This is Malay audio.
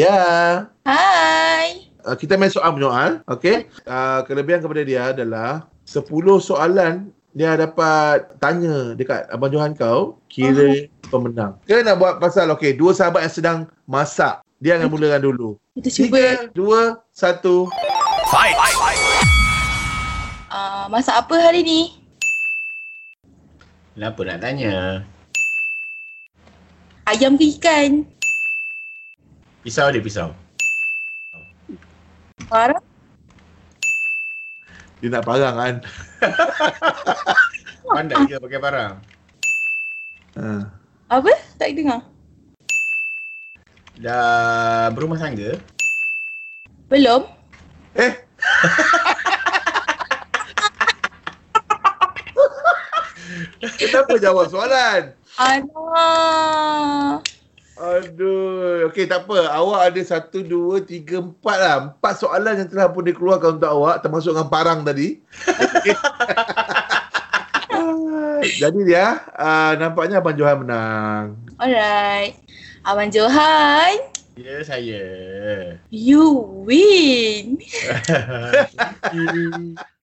dia. Hai. Uh, kita main soal menyoal, okey? Uh, kelebihan kepada dia adalah 10 soalan dia dapat tanya dekat Abang Johan kau kira pemenang. Kita nak buat pasal okey, dua sahabat yang sedang masak. Dia akan mulakan dulu. Kita cuba Tiga, dua, satu. uh, masak apa hari ni? Kenapa nak tanya? Ayam ke ikan? Pisau dia pisau. Parah. Dia nak parang kan? Pandai ke pakai barang? Uh. Apa? Tak dengar. Dah berumah tangga? Belum. Eh, kenapa jawab soalan? Alah. Aduh. Okey, tak apa. Awak ada satu, dua, tiga, empat lah. Empat soalan yang telah pun dikeluarkan untuk awak. Termasuk dengan parang tadi. Okey. Ah, Jadi dia, uh, nampaknya Abang Johan menang. Alright. Abang Johan, Ya, saya. you win. Thank you.